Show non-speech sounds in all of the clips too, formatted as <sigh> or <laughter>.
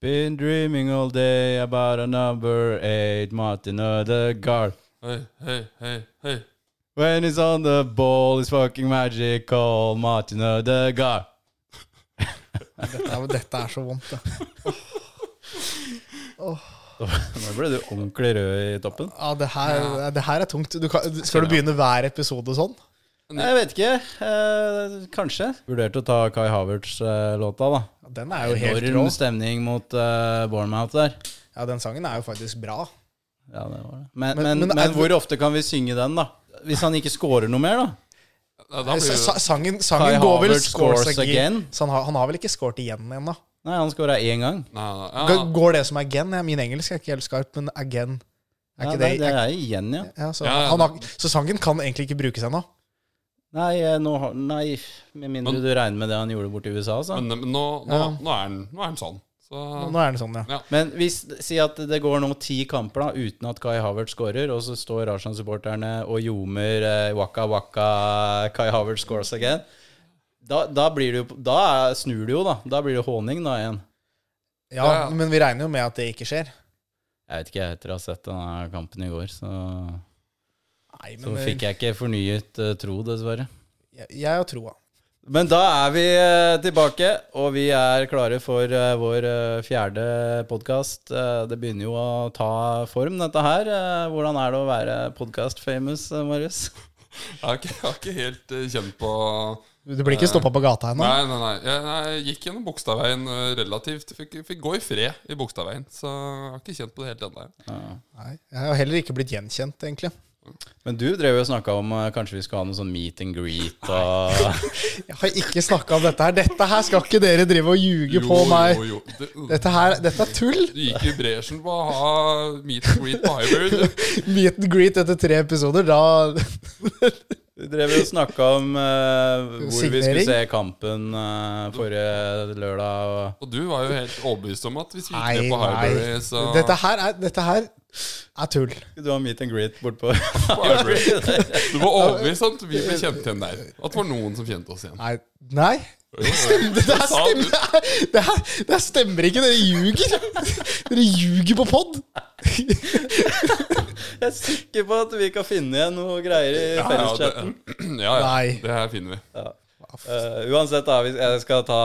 Been dreaming all day about a number eight Martin Ødegaard. Hei, hei, hei, hei. When he's on the ball, it's fucking magical Martin Ødegaard. Dette er, dette er så vondt, det. Nå ble du ordentlig rød i toppen. Ja, det her, det her er tungt. Du kan, skal du begynne hver episode sånn? Nei, Jeg vet ikke. Eh, kanskje. Vurderte å ta Kai Havertz-låta, da. Ja, Den er jo helt rå. Enorm stemning mot eh, Bournemouth der. Ja, den sangen er jo faktisk bra. Ja, det var det. Men, Men- men, men men, er det- hvor ofte kan vi synge den, da? Hvis han ikke scorer noe mer, da? Ja, da blir Eh, Sa- det Sangen, Kai sangen går vel Havertz scores scores again. again. Så han har, han har vel ikke scoret igjen ennå. Nei, han scora én gang. Nei, nei, G- ja. Går det som again? Ja, min engelsk er ikke helt skarp, men again er Ja, ikke det, det, det er igjen, ja. ja, så, Ja, ja, han har, så sangen kan egentlig ikke brukes ennå. Nei, eh, nå, har- nei med mindre Men- du regner med det han gjorde borti USA, altså. Men, men nå, nå, Ja. nå, er den, nå er den sånn. Så Nå er den sånn, ja. Men hvis, si at det går nå ti kamper da, uten at Kai Havertz scorer, og så står Rajan-supporterne og ljomer eh, waka waka Kai Havertz scores again, da, da, blir det jo, da er- snur det jo, da. Da blir det håning da igjen. ja. Ja, ja. Men vi regner jo med at det ikke skjer. Jeg vet ikke, etter å ha sett denne kampen i går, så, Nei, så men eh, fikk jeg ikke fornyet eh, tro, dessverre. jeg, jeg har troa. Men da er vi eh, tilbake, og vi er klare for eh, vår eh, fjerde podkast. Det begynner jo å ta form, dette her. Eh, Hvordan er det å være podkast-famous, eh, Marius? jeg har ikke, jeg har ikke helt eh, kjent på Du blir ikke stoppa på gata ennå? Nei, nei, nei. Jeg, nei, jeg gikk gjennom Bogstadveien eh, relativt. Fikk, fikk gå i fred i Bogstadveien. Så jeg har ikke kjent på det helt ennå. Nei. Jeg har heller ikke blitt gjenkjent, egentlig. Men du drev jo og snakka om eh, kanskje vi skal ha noe sånn meet and greet og Jeg har ikke snakka om dette her. Dette her skal ikke dere drive og ljuge på meg. Jo, jo. Det, Dette her, dette er tull. du gikk i bresjen på å ha meet and greet på Hybrid. Meet and greet etter tre episoder, da <laughs> Du drev jo og snakka om eh, hvor vi Signering? skulle se kampen eh, forrige lørdag. Og Og du var jo helt overbevist om at hvis vi Nei, gikk ned på nei. Hybrid, så Dette her er, dette her er tull. Skulle du ha meet and greet <laughs> bortpå på Hybrid. Du var overbevist om at vi ble kjent igjen der. At det var noen som kjente oss igjen. Nei. Nei. <laughs> Det, her Sa du? stemmer, det, her, det her stemmer ikke. Dere ljuger. Dere ljuger på pod. <laughs> Jeg er sikker på at vi kan finne igjen noe greier i Ja, Ah, ja, det, felleschatten. <clears throat> ja, ja. Nei. det her finner vi. Eh, uansett, da, vi- jeg skal ta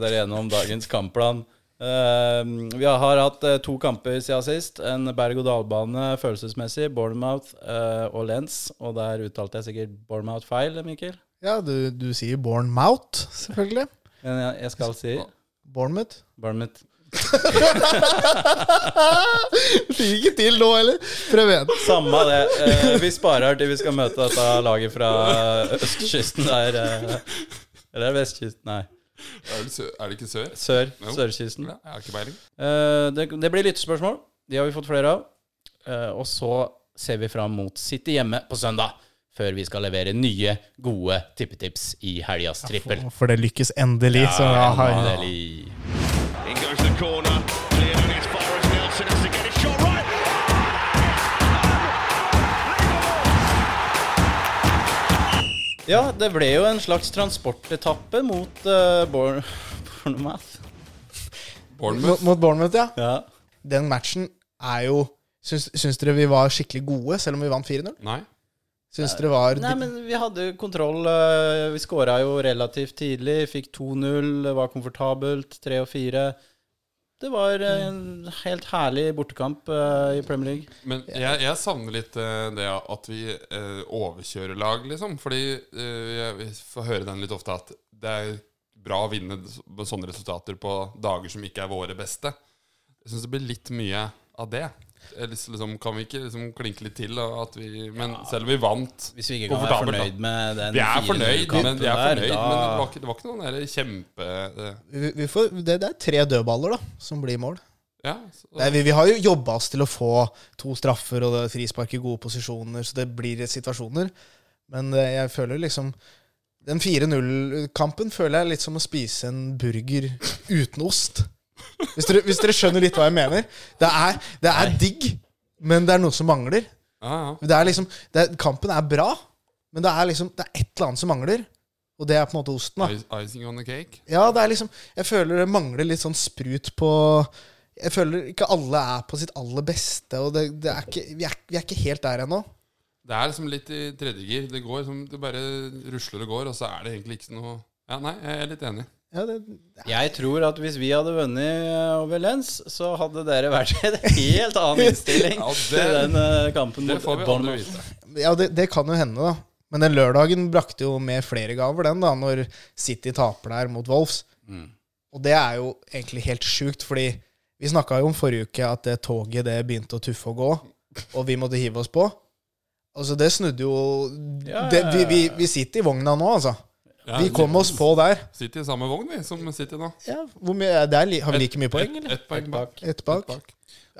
dere gjennom dagens kampplan. Eh, vi har hatt eh, to kamper siden sist. En berg-og-dal-bane følelsesmessig, Bournemouth eh, og Lens. Og der uttalte jeg sikkert Bournemouth feil, Mikkel. Ja, du, du sier Bournemouth, selvfølgelig. Men jeg, jeg skal si Bournemouth. Bournemouth. Fikk ikke til nå heller. Prøv igjen. Samme det. Eh, vi sparer til vi skal møte dette laget fra eh, østkysten der. eh, eller er det vestkysten? Nei, Er det, sø- er det ikke sør? sør. Jo. Sørkysten. Ja, jeg har ikke peiling. Eh, det, det blir lyttespørsmål. De har vi fått flere av. Eh, og så ser vi fram mot City hjemme på søndag, før vi skal levere nye, gode tippetips i helgas trippel. For det lykkes endelig. Så ja, hei. Endelig. In goes the corner. Cleared on as far as Nelson has to get it shot right. Ja, det ble jo en slags transportetappe mot eh, Bourne- <laughs> Bournemouth. Bournemouth. Mot, mot Bournemouth, ja. Ja. Den matchen er jo Syns, syns dere vi var skikkelig gode, selv om vi vant 4-0? Nei. Syns dere var Nei, men vi hadde jo kontroll. eh, Vi skåra jo relativt tidlig. Fikk 2-0, det var komfortabelt. 3 og 4. Det var eh, en helt herlig bortekamp eh, i Premier League. Men jeg, jeg savner litt eh, det at vi eh, overkjører lag, liksom. Fordi eh, jeg vi får høre den litt ofte at det er bra å vinne s- med sånne resultater på dager som ikke er våre beste. Jeg syns det blir litt mye av det. Jeg lyst- Liksom, kan vi ikke liksom klinke litt til? og At vi, men selv om vi vant Hvis vi ikke kan være Komfortabelt, da. fornøyd med den Vi er fornøyd, 4-0-kampen men, vi er der, fornøyd, da- men det, var ikke, det var ikke noen der kjempe... eh, vi, vi får, det, det er tre dødballer da, som blir mål. Ja, så, Det er, vi, vi har jo jobba oss til å få to straffer og det er frispark i gode posisjoner, så det blir situasjoner. Men eh, jeg føler liksom Den 4-0-kampen føler jeg er litt som å spise en burger uten ost. Hvis dere, hvis dere skjønner litt hva jeg mener. Det er, det er digg, men det er noe som mangler. ja, ja. Det er liksom, det er, kampen er bra, men det er liksom Det er et eller annet som mangler, og det er på en måte osten. da Ice- Icing on the cake. Ja, det er liksom Jeg føler det mangler litt sånn sprut på Jeg føler ikke alle er på sitt aller beste, og det, det er ikke, vi, er, vi er ikke helt der ennå. Det er liksom litt i tredje gir. Det går som det bare rusler og går, og så er det egentlig ikke noe Ja, nei, jeg er litt enig. Ja, det, Jeg tror at hvis vi hadde vunnet eh, over Lens, så hadde dere vært i en helt annen innstilling <laughs> Ja, det- til den eh, kampen Det mot får vi aldri Bournemouth. vite. ja det, det kan jo hende, da. Men den lørdagen brakte jo med flere gaver, den, da, når City taper der mot Wolves. Og det er jo egentlig helt sjukt, fordi vi snakka jo om forrige uke at det toget det begynte å tuffe og gå, og vi måtte hive oss på. Altså, det snudde jo Ja, ja, det, vi, ja. vi, vi sitter i vogna nå, altså. Ja, Vi kom oss på der. Sitter i samme vogn, vi, som sitter nå. Ja, hvor mye, der li- har vi like mye Ett poeng, eller? et poeng bak. Ett bak.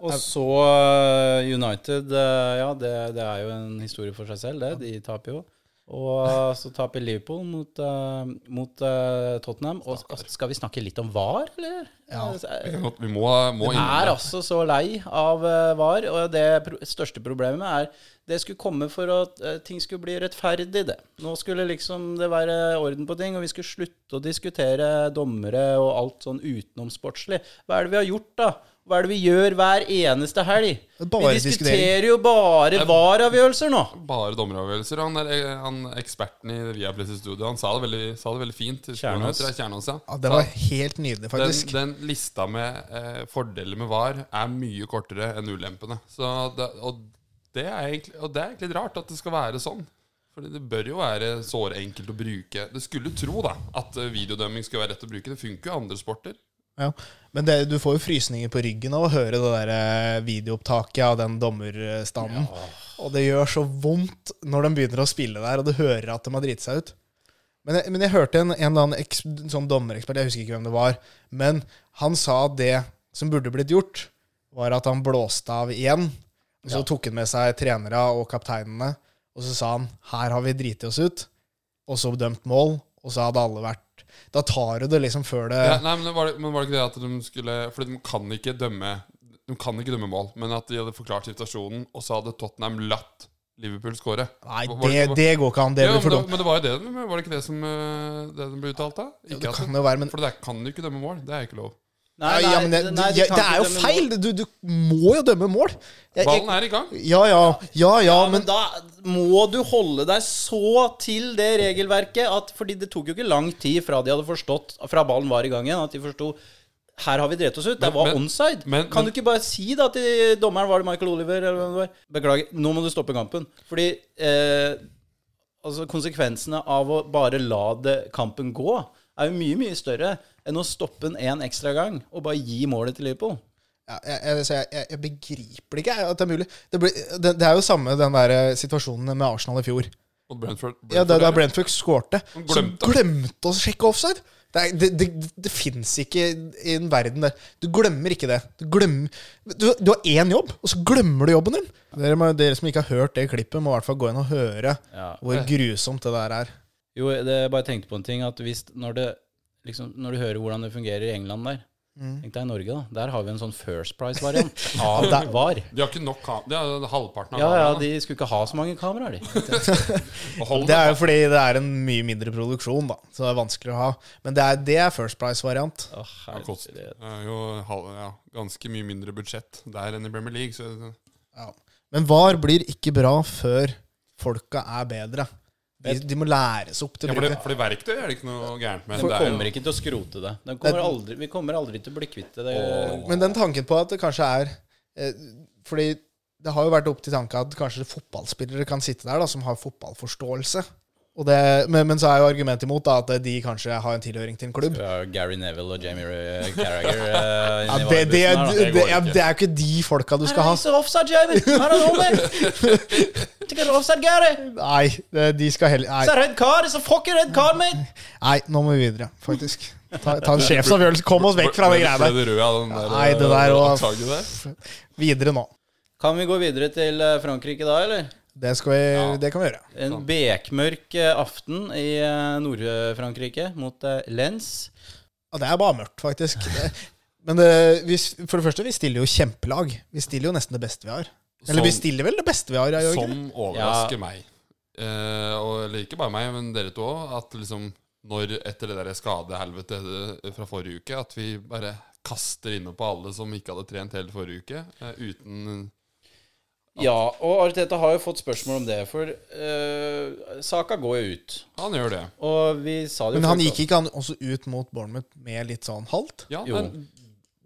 Og så eh, United eh, Ja, det, det er jo en historie for seg selv, det. De taper jo. Og eh, så taper Liverpool mot, eh, mot eh, Tottenham. Og og skal vi snakke litt om VAR, eller? Ja. Eh, Vi må, må Jeg er innom det. altså så lei av eh, VAR, og det pro største problemet er det skulle komme for at eh, ting skulle bli rettferdig, det. Nå skulle liksom det være orden på ting, og vi skulle slutte å diskutere dommere og alt sånn utenomsportslig. Hva er det vi har gjort, da? Hva er det vi gjør hver eneste helg? Bare vi diskuterer jo bare VAR-avgjørelser nå. Bare dommeravgjørelser. Han, er, eh, han eksperten i Viaplays studio Han sa det veldig, sa det veldig fint. Kjernås. Ja, Kjernås, ja. Ja, det var helt nydelig, Den, faktisk. den lista med eh, fordeler med VAR er mye kortere enn ulempene. Så det, og, det er egentlig, og det er egentlig litt rart at det skal være sånn. Fordi det bør jo være såre enkelt å bruke. Det skulle tro da at eh, videodømming skal være lett å bruke. Det funker jo i andre sporter. Ja. Men det, du får jo frysninger på ryggen av å høre det der eh, videoopptaket av den dommerstanden. Og det gjør så vondt når de begynner å spille der, og du hører at de har driti seg ut. Men jeg, men jeg hørte en, en eller annen eks, sånn dommerekspert, jeg husker ikke hvem det var, men han sa at det som burde blitt gjort, var at han blåste av igjen. Og så tok han med seg trenere og kapteinene, og så sa han 'her har vi driti oss ut', og så dømt mål, og så hadde alle vært Da tar du det liksom før det Ja, Eh, nei, men, var det, men var det ikke det at de skulle Fordi de kan ikke dømme De kan ikke dømme mål, men at de hadde forklart situasjonen, og så hadde Tottenham latt Liverpool skåre. Nei, Var- var det, var- det går ikke an. Det Ja, blir men, for det, dumt. men det var jo det den Var det ikke det som eh, det den ble uttalt, da? Ja, Ikke det at kan det- jo være, men, For det kan du ikke dømme mål. Det er ikke lov. Nei, ja, men det, nei, de det, ja, kan ikke det er jo dømme feil! mål. Du, du må jo dømme mål! Jeg, Ballen jeg, er i gang. ja, ja, ja, ja, Ja, men men da må du holde deg så til det regelverket at Fordi det tok jo ikke lang tid fra de hadde forstått Fra ballen var i gang igjen, at de forsto her har vi drept oss ut. Det Men- var men- onside. men- kan du men- ikke bare si da til dommeren Var det Michael Oliver eller hvem det var? Beklager, nå må du stoppe kampen. Fordi eh, altså konsekvensene av å bare la det, kampen gå, er jo mye, mye større enn å stoppe den en ekstra gang og bare gi målet til Liverpool. ja, jeg, jeg, så jeg, jeg, jeg begriper ikke jeg, at det er mulig. Det, blir, det, det er jo samme den der eh, situasjonen med Arsenal i fjor. Mot Brentford. Brentford Ja, Da, da eller? Brentford skårte, så glemte. glemte å sjekke offside! Det, er- det, det, det fins ikke i en verden der. Du glemmer ikke det. Du, glemmer, du, du har én jobb, og så glemmer du jobben din! Dere, må, dere som ikke har hørt det klippet, må i hvert fall gå inn og høre Ja. hvor grusomt det der er. Jo, det, jeg bare tenkte på en ting. At hvis, når, det, liksom, når du hører hvordan det fungerer i England der Tenk deg i Norge, da. Der har vi en sånn First Price-variant av der- VAR. De har ikke nok kam- Det er halvparten av Ja, ja, kameraene. de skulle ikke ha så mange kameraer, de. Og hold Det er jo fordi det er en mye mindre produksjon, da. Så det er vanskelig å ha. Men det er, det er First Price-variant. Å, Ja, kost. Det herregud. er jo halv, ja, ganske mye mindre budsjett der enn i Premier League. Så Ja. Men VAR blir ikke bra før folka er bedre. De, de må læres opp til ja, å for, bruke det, det. for det verktøyet er det ikke noe gærent med. Vi Det er jo- kommer ikke til å skrote det. Den kommer aldri, vi kommer aldri til å bli kvitt det. Åh. Men den tanken på at det kanskje er eh, Fordi det har jo vært opp til tanke at kanskje fotballspillere kan sitte der, da, som har fotballforståelse. Og det, men, men så er jo argumentet imot da, at de kanskje har en tilhøring til en klubb. Vi har Gary Neville og Jamie eh, <laughs> Carragher eh, Ja, inni det, det, varebussen her, da. det, går ja, ikke. det er jo ikke de folka du skal ha. He's offside, Jamie! Her er det over! Take it offside, Gary! Nei, det- de skal heller nei. It's a red card! It's a fucking red card, mate! Nei, nå må vi videre, faktisk. Ta, ta en sjefsavgjørelse. Kom oss vekk fra de Ble greiene der. det rød av den der, Nei, det der eh, var- opptaket der? Videre nå. Kan vi gå videre til eh, Frankrike da, eller? Det, skal vi, det kan vi gjøre. En bekmørk eh, aften i eh, Nord-Frankrike mot eh, Lens. Ja, det er bare mørkt, faktisk. Det- Men det, vi, s- for det første, vi stiller jo kjempelag. Vi stiller jo nesten det beste vi har. Eller vi Som- stiller vel det beste vi har, gjør vi ikke det? Som overrasker meg. Eh, og, eller ikke bare meg, men dere to òg. At liksom når etter det der skadehelvetet eh, fra forrige uke, at vi bare kaster inne på alle som ikke hadde trent hele forrige uke. eh, uten Ja, og Arteta har jo fått spørsmål om det, for eh, saka går jo ut. Han gjør det. Og vi sa det jo Men han før- gikk ikke han også ut mot Bournemouth med litt sånn halvt? Ja, Jo. det-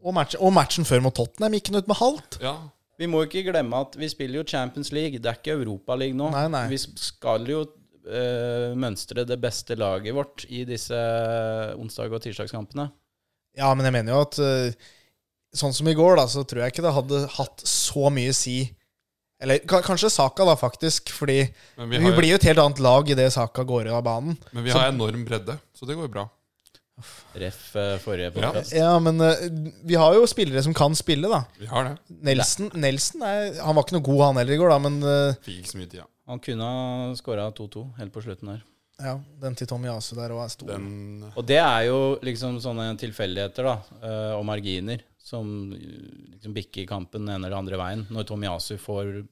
Og matchen, og matchen før mot Tottenham gikk han ut med halvt? ja. Vi må ikke glemme at vi spiller jo Champions League, det er ikke Europa League nå. Nei, nei. Vi skal jo eh, mønstre det beste laget vårt i disse eh, onsdag- og tirsdagskampene. Ja, men jeg mener jo at eh, sånn som i går, da, så tror jeg ikke det hadde hatt så mye å si. Eller ka- kanskje Saka, da, faktisk. Fordi Men, vi vi, har, blir jo et helt annet lag idet Saka går av banen. men vi har enorm bredde, så det går jo bra. Ref eh, forrige podcast. Ja, men eh, vi har jo spillere som kan spille, da. Vi har det. Nelson, Nelson er, han var ikke noe god, han heller, i går, da, men eh, Fikk ikke så mye tid. Ja. Han kunne ha skåra 2-2 helt på slutten der. ja, den til Tommy Asu der òg er stor. Den Og det er jo liksom sånne tilfeldigheter, da, eh, og marginer, som eh, liksom bikker kampen den ene eller andre veien. Når Tomiyasu får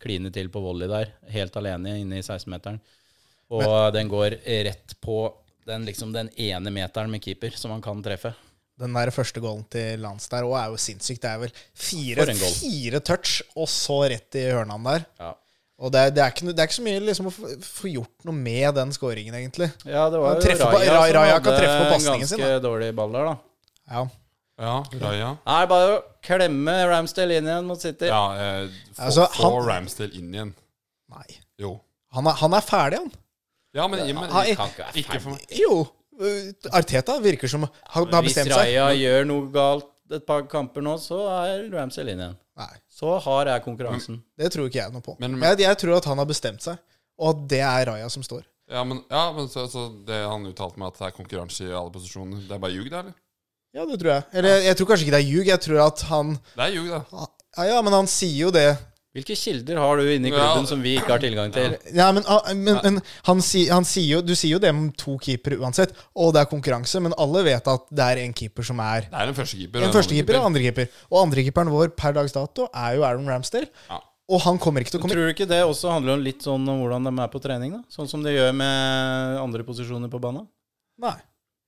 kline til på volley der, helt alene inne i 16-meteren, og den går rett på den, liksom, den ene meteren med keeper som han kan treffe. Den der første goalen til Lance der òg er jo sinnssykt. Det er vel fire, For en goal. fire touch, og så rett i hørnene der. Ja, Og det er, det er, ikke, noe- det er ikke så mye liksom, å få- få gjort noe med den scoringen, egentlig. det var Han jo treffer på- Raja, Ra- Raja som kan hadde treffe på en pasningen ganske sin, dårlig ball der, da. Ja. Ja, Raja. Det er bare å klemme Ramsdale inn igjen mot City. Ja, eh, få, Altså, få han- Ramsdale inn igjen. Nei. Jo. Han er, han er ferdig, han. Ja, men, men han- ikke, ikke for meg. Jo. øh, Arteta virker som han har Hvis bestemt seg. Raja gjør noe galt et par kamper nå, så er Ramsdale inn igjen. Nei, Så hard er konkurransen. det tror ikke jeg noe på. Men- jeg, jeg tror at han har bestemt seg, og at det er Raja som står. Ja, men, ja, men så, så det han uttalte meg at det er konkurranse i alle posisjoner. Det er bare ljug, det, eller? Ja, det tror jeg. Eller jeg, jeg tror kanskje ikke det er ljug. Jeg tror at han Det er ljug, det. Ja, ja, men han sier jo det. Hvilke kilder har du inne i klubben Ja. som vi ikke har tilgang til? Ja, men, ah, men, men han, si, han sier jo Du sier jo det om to keepere uansett, og det er konkurranse, men alle vet at det er en keeper som er Det er en førstekeeper. og En førstekeeper og andrekeeper. en andrekeeper. Og andrekeeperen vår per dags dato er jo Aaron Ramsdale. Ja. Og han kommer ikke til å komme Tror du ikke det også handler om litt sånn om hvordan de er på trening? da? Sånn som de gjør med andre posisjoner på banen? Nei.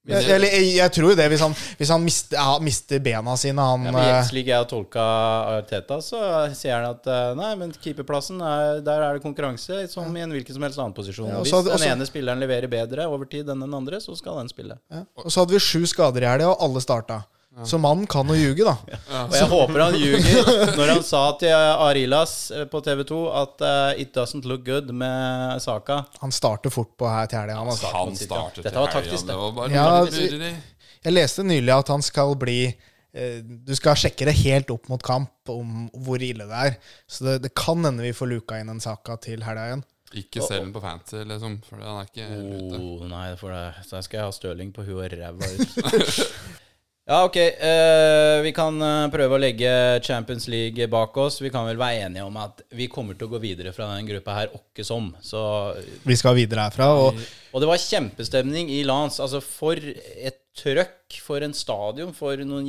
Jeg, eller, jeg, jeg tror jo det, hvis han, hvis han mister, ja, mister bena sine. Han, Ja, men jeg- eh, Slik jeg har tolka Arteta, så sier han at eh, nei, men keeperplassen, er, der er det konkurranse som i en hvilken som helst annen posisjon. Og Ja, og hvis så- og den så- ene spilleren leverer bedre over tid enn den andre, så skal den spille. ja. Og så hadde vi sju skader i helga, og alle starta. Så mannen kan jo ljuge, da. Og jeg håper han ljuger når han sa til Arilas eh, på TV 2 at eh, it doesn't look good med Saka. Han starter fort på her til helga. han, altså. Han startet Dette var til helgen, taktisk, det. Det var bare Ja, altså, lurer i. Jeg leste nylig at han skal bli eh, Du skal sjekke det helt opp mot kamp om hvor ille det er. Så det, det kan hende vi får luka inn en saka til helga igjen. Ikke selg den på fancy, liksom. For han er ikke helt ute. Oh, nei, for det. Så jeg skal ha Stirling på huet og ræva ut. ja, ok. eh, vi kan eh, prøve å legge Champions League bak oss. Vi kan vel være enige om at vi kommer til å gå videre fra den gruppa her, åkke som. Så, Vi skal videre herfra. Og og det var kjempestemning i Lance. Altså, for et trøkk, for en stadion, for noen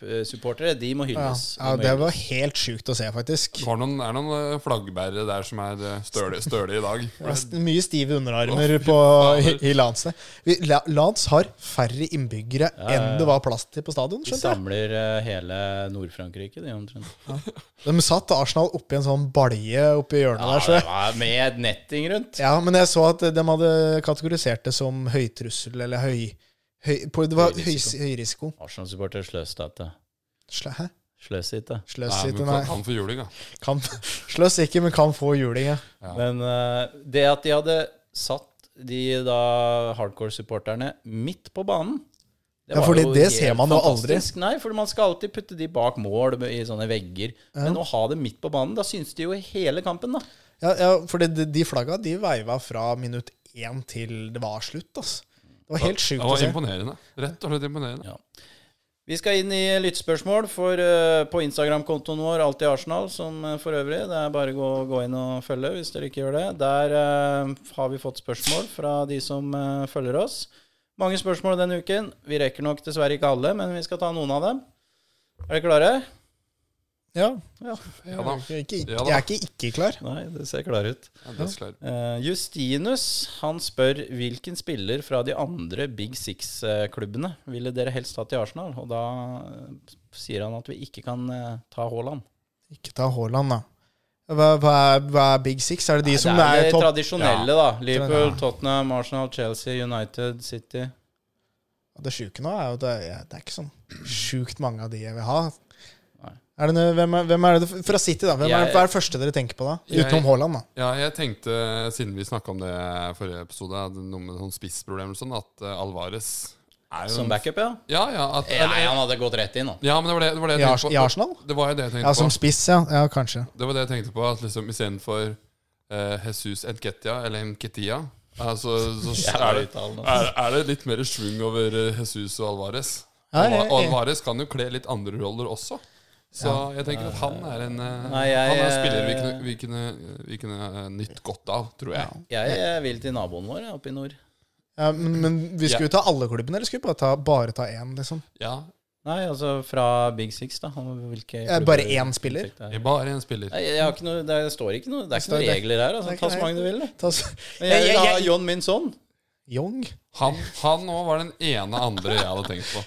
hjemmesupportere. De må ja, hylles. ja, De må det hylles. var helt sjukt å se, faktisk. Det var noen, er noen eh, flaggbærere der som er eh, støle, støle i <laughs> dag. Det var st- Mye stive underarmer på, i, i Lance. Vi- La- Lance har færre innbyggere enn det var plass til på stadion. De skjønte jeg. samler eh, hele Nord-Frankrike, de omtrent. De satt Arsenal oppi en sånn balje oppi hjørnet Ja, der. Så det var med netting rundt. Ja, men jeg så at de hadde kategorisert det som høytrussel eller høy... høy på, det var høyrisiko. Høyrisiko. Høy, høyrisiko. Arsenal-supporter sløste ikke. Slø, hæ? Sløs ikke. Sløs Nei, men ikke, kan- nei. han får juling, da. Kan, sløs ikke, men kan få juling, ja. Men eh, det at de hadde satt de da hardcore-supporterne midt på banen Ja, var fordi jo det helt ser man jo aldri. fantastisk. Nei, for man skal alltid putte de bak mål i sånne vegger. Men å ha det midt på banen, da syns de jo i hele kampen, da. Ja, ja for de, de flagga de veiva fra minutt én til det var slutt, altså. Det var helt Det sjukt å var se. imponerende. Rett og slett imponerende. Ja. Vi skal inn i lyttspørsmål for, eh, på Instagram-kontoen vår, Alltid Arsenal, som eh, for øvrig. Det er bare å gå, gå inn og følge hvis dere ikke gjør det. Der eh, har vi fått spørsmål fra de som eh, følger oss. Mange spørsmål denne uken. Vi rekker nok dessverre ikke alle, men vi skal ta noen av dem. Er dere klare? Ja. Ja da. Jeg er ikke ikke, Ja da. jeg er ikke, ikke klar. Nei, det ser klar ut. Ja, det er så klart. Eh, Justinus han spør hvilken spiller fra de andre Big Six-klubbene ville dere helst hatt i Arsenal? Og da eh, sier han at vi ikke kan eh, ta Haaland. Ikke ta Haaland, da. Hva, hva, er, hva er Big Six? Er det de Nei, som det er er de topp tradisjonelle, da. Liverpool, Ja. Tottenham, Arsenal, Chelsea, United, City. Det sjuke nå er jo at det, er- det er ikke sånn sjukt mange av de jeg vil ha. Nei. Er det, noe- hvem, er, hvem er det du- Fra City, da. Hvem er, Jeg- hva er det første dere tenker på da? Jeg- Utenom Haaland, da. Ja, jeg tenkte, eh, siden vi snakka om det i forrige episode, at noe med sånn spissproblemer og sånn, at eh, Alvarez er jo Som en- backup, ja? Ja, ja, at, Nei, han hadde gått rett inn, han. ja, men det var det, det, var det I, jeg Ars tenkte på. I Arsenal? Det var jo det jeg tenkte Ja, som på. spiss, ja. ja kanskje. Det var det jeg tenkte på, at liksom istedenfor uh, Jesus Enketia, eller Enketia, altså, <laughs> så er det, altså. er, er det litt mer svung over eh, Jesus og Alvarez. Ja, Og jeg- og Alvarez kan jo kle litt andre roller også. Så jeg tenker at han er en eh, Nei, jeg, Han er en spiller vi eh, kunne, vi kunne, vi kunne eh, nytt godt av, tror jeg. Jeg eh, vil til naboen vår oppe i nord. Ja, men, men vi skulle jo ta alle klubbene, eller skulle vi bare ta, bare ta én? Liksom? Ja, Nei, altså fra Big Six, da. Han- Hvilke Eh, bare én spiller? Det er. jeg bare en spiller. Nei, jeg har ikke noe, det står ikke noe Det er ikke står- noen regler her. Altså, det er ta ikke- så mange du vil. da. Ta, s- Men <laughs> jeg vil ha jeg- John Minson. Young? Han, han òg var den ene andre jeg hadde tenkt på.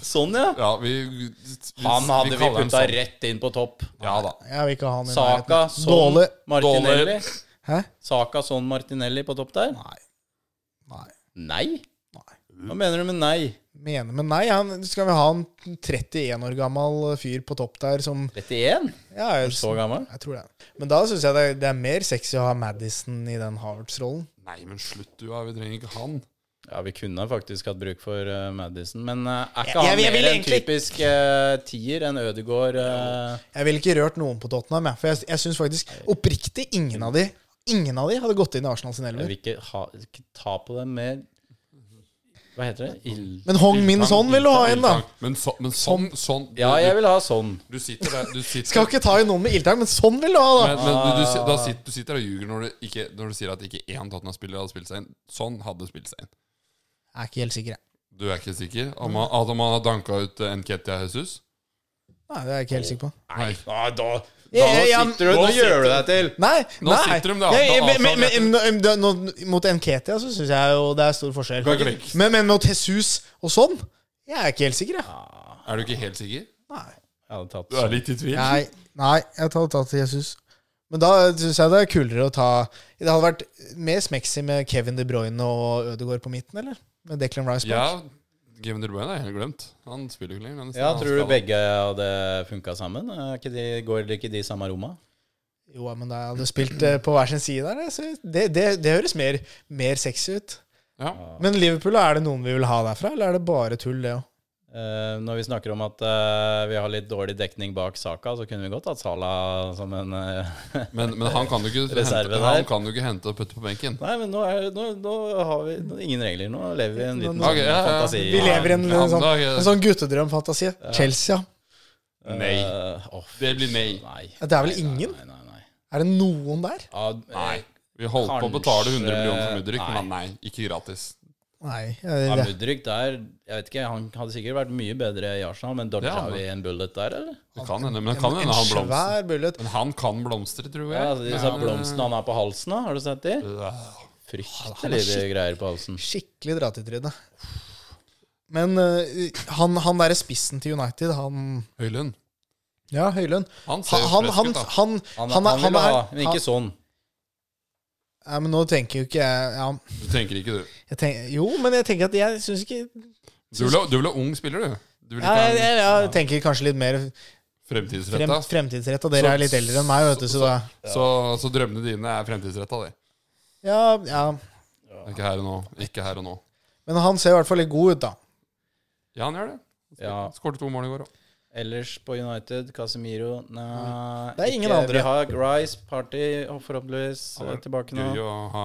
Sånn, ja. Ja, vi, vi, Han hadde vi kaller ham putta sånn. rett inn på topp. Ja da. Jeg vil ikke ha han i Saka, nærheten. Son, Dårlig. Martinelli. Hæ? Saka, Son, Martinelli på topp der? Nei. Nei. Nei? Nei. Hva mener du med nei? Mener, men nei, han, skal vi ha en 31 år gammel fyr på topp der som 31? ja, jeg, Så gammel? jeg tror det. Men da syns jeg det, det er mer sexy å ha Madison i den Harvards-rollen. Nei, men slutt, du. ja, Vi trenger ikke han. Ja, vi kunne faktisk hatt bruk for eh, Madison, men eh, er Jeg- ikke han jeg- jeg vil mer en egentlig- typisk eh, tier enn Ødegaard? eh, Jeg ville ikke rørt noen på Tottenham, jeg, for jeg, jeg syns faktisk oppriktig ingen av de Ingen av de hadde gått inn i Arsenal sin jeg elver. vil ikke, ha, ikke ta på det mer Hva heter det? Ild... Men Hong Min Son vil du ha inn, da! Men, så, men sånn, sånn du, Ja, jeg vil ha sånn. du sitter der du sitter, Skal ikke ta inn noen med ildtang, men sånn vil du ha, da! men, men du, du, si- da sitter, du sitter og ljuger når du, ikke, når du sier at ikke én Tottenham-spiller hadde spilt seg inn. Sånn hadde spilt seg inn. Jeg er ikke helt sikker, jeg. Du er ikke sikker? Om han, at om han hadde danka ut eh, Nketia Jesus? Nei, det er jeg ikke helt sikker på. Nei. da, Ja, ja, sitter du nå Nå sitter- gjør du deg til! Nei, Nå nei. sitter de da, Jeg, da men, men, avtaler men, men, da- nå- mot Nketia så syns jeg jo det er stor forskjell. Kan ikke like. Men, men mot Jesus og sånn Jeg er ikke helt sikker, jeg. Er du ikke helt sikker? Nei. Jeg hadde tatt Du er litt i tvil? Nei, nei jeg hadde tatt Jesus. Men da syns jeg det er kulere å ta Det hadde vært mer smexy med Kevin De Bruyne og Ødegaard på midten, eller? Med Declan Rice Ja, bak. Gavin De Bruyne er helt glemt. Han spiller jo ikke lenger. men Ja, han tror du skal- begge hadde funka sammen? Er ikke de, går ikke de i samme romma? Jo, men da hadde jeg spilt eh, på hver sin side der. Så det, det, det høres mer, mer sexy ut. Ja. Men Liverpool, er det noen vi vil ha derfra, eller er det bare tull, det òg? Eh, når vi snakker om at eh, vi har litt dårlig dekning bak saka, så kunne vi godt hatt Sala som en eh, Men, men han kan jo ikke Reserve hente, der. han kan jo ikke hente og putte på benken. Nei, men nå, er, nå, nå har vi nå, ingen regler. Nå lever vi i en liten Nå- sånn Ok, ja, ja. fantasi. Vi lever i en, Ja, sånn, da- en sånn guttedrømfantasi. Chelsea. Eh, Nei. åh, Det blir nei. Nei. Ja, det er vel Nei, ingen? Nei, nei, nei. Er det noen der? Ja, Nei. eh, Vi holdt på å Kanskje- betale 100 millioner for Mudrik, Nei. men nei, ikke gratis. Nei. ja, Jeg, Mudryk der Jeg vet ikke, han hadde sikkert vært mye bedre i Arsenal, men dodga Ja, men- vi en bullet der, eller? Det kan hende, men det kan en hende han blomstrer. svær bullet. Men han kan blomstre, tror jeg. Ja, altså, disse blomstene han har på halsen, da, har du sett de? Fryktelige greier på halsen. Skikkelig dratt i trynet. Men eh, han, han derre spissen til United, han Høylund. Ja, Høylund. Han Han, ser han, frisk han, ut, da. han, Han, han han, er- vil han er- ha, men ikke sånn. Nei, men nå tenker jo ikke jeg ja, Du tenker ikke, du. jeg tenker, Jo, men jeg tenker at jeg syns ikke Du vil ha, du vil ha ung spiller, du. Du vil ja, ikke jeg, ha en jeg, jeg tenker kanskje litt mer frem, fremtidsretta. fremtidsrett, og dere Så- er litt eldre enn meg, vet du, så da Så, så drømmene dine er fremtidsretta, de. Ja, ja. Ikke her og nå. Ikke her og nå. Men han ser i hvert fall litt god ut, da. Ja, han gjør det. Ja. Skåret to mål i går òg. Ellers på United, Casemiro Nei, Det er ingen ikke. andre. Vi har Rice, Party og forhåpentligvis Ja, eh, tilbake nå. Gøy å ha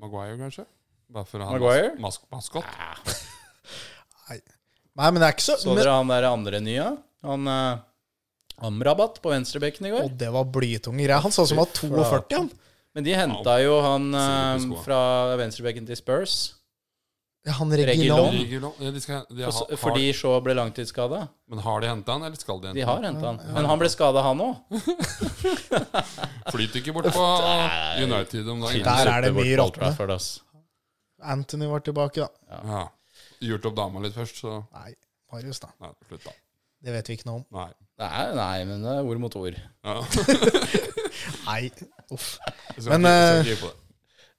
Maguire, kanskje? Bare for å ha Maguire? mas mas maskott. Nei, men det er ikke så, Så men, dere han der andre nye? Han eh, Amrabat på venstrebekken i går. Å, det var blytunge greier. Han så ut som han var 42, han. Men de henta jo han Sikkert på eh, skoa. fra venstrebekken til Spurs. Han Reguilon. Regilon. Regulon- Ja, de skal, de har, Også- har, Fordi Shaw ble langtidsskada. men har de henta han, eller skal de De hente han? har henta han. Men han ble skada, han òg. Flyter ikke bort på United om dagen. Der er det mye råtne. rått. Anthony var tilbake, da. Ja. Gjort opp dama litt først, så Nei, Marius, da. Nei, slutt, da. Det vet vi ikke noe om. Nei. Nei, nei, men det er ord mot ord. Ja. <laughs> Nei, uff. Jeg skal Men, ikke- jeg skal ikke gi på det.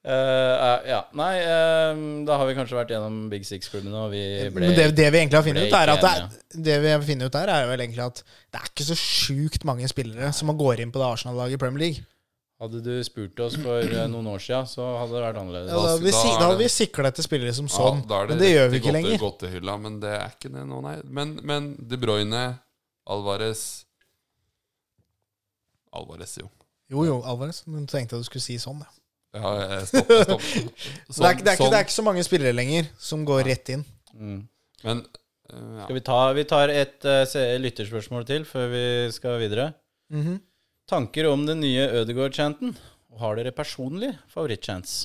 Eh, eh, ja. Nei, eh, da har vi kanskje vært gjennom Big Six-klubbene, og vi ble Men det, det vi egentlig har funnet ble ut, er at det, ikke er, det vi har funnet ut der, er jo vel egentlig at det er ikke så sjukt mange spillere som man går inn på det Arsenal-laget i Premier League. Hadde du spurt oss for eh, noen år siden, så hadde det vært Da, annerledes. da, Da- hadde vi, da si- er da hadde vi det- sikla etter spillere som sånn, Ja, da er men det gjør vi rett i ikke godte- lenger. godtehylla, men det er ikke det nå, nei. Men, men De Bruyne, Alvarez Alvarez, jo. Jo, jo, Alvarez, men tenkte jeg du skulle si sånn. Ja. Ja, jeg stopper, <laughs> jeg Sånn, stopper. Så det, er, ikke- det, er ikke, Sånn- det er ikke så mange spillere lenger som går rett inn. Mm. sånn. Men eh, ja. Skal vi, ta, vi tar et eh, se- lytterspørsmål til før vi skal videre. Mhm. Tanker om den nye Ødegaard-chanten? Og Har dere personlig favorittchants?